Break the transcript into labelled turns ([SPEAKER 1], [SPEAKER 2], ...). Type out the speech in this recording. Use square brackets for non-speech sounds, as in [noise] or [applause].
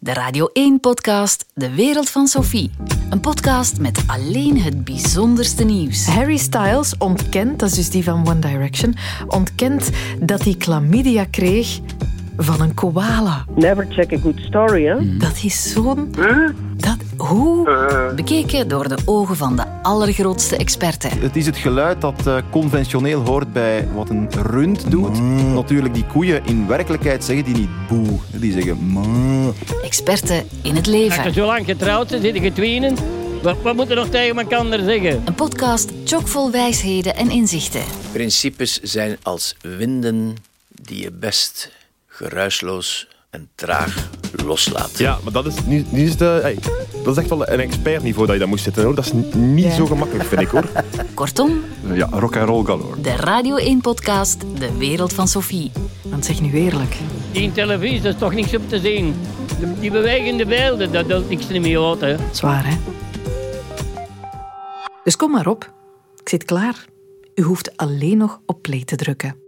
[SPEAKER 1] de Radio 1-podcast De Wereld van Sophie. Een podcast met alleen het bijzonderste nieuws.
[SPEAKER 2] Harry Styles ontkent, dat is dus die van One Direction, ontkent dat hij chlamydia kreeg van een koala.
[SPEAKER 3] Never check a good story, hè?
[SPEAKER 2] Dat is zo'n... Dat, hoe?
[SPEAKER 1] Bekeken door de ogen van de allergrootste experten.
[SPEAKER 4] Het is het geluid dat eh, conventioneel hoort bij wat een rund doet. Natuurlijk, die koeien in werkelijkheid zeggen die niet boe. Die zeggen moo.
[SPEAKER 1] Experten in het
[SPEAKER 5] Dat je
[SPEAKER 1] leven.
[SPEAKER 5] zo lang getrouwd zit, zitten getwenen. Wat, wat moet er nog tegen elkaar zeggen?
[SPEAKER 1] Een podcast chockvol wijsheden en inzichten.
[SPEAKER 6] Principes zijn als winden die je best geruisloos en traag loslaat.
[SPEAKER 7] Ja, maar dat is, nu, nu is de, hey, dat is echt wel een expertniveau dat je daar moest zitten hoor. Dat is n- niet zo gemakkelijk, vind ik hoor.
[SPEAKER 1] Kortom,
[SPEAKER 4] [laughs] Ja, rock and roll galore.
[SPEAKER 1] de Radio 1-podcast De Wereld van Sophie.
[SPEAKER 2] Want zeg nu eerlijk.
[SPEAKER 5] Die televisie, dat is toch niks op te zien. Die- Die bewegende beelden, dat doet niks niet meer uit, hè.
[SPEAKER 2] Zwaar, hè? Dus kom maar op. Ik zit klaar. U hoeft alleen nog op play te drukken.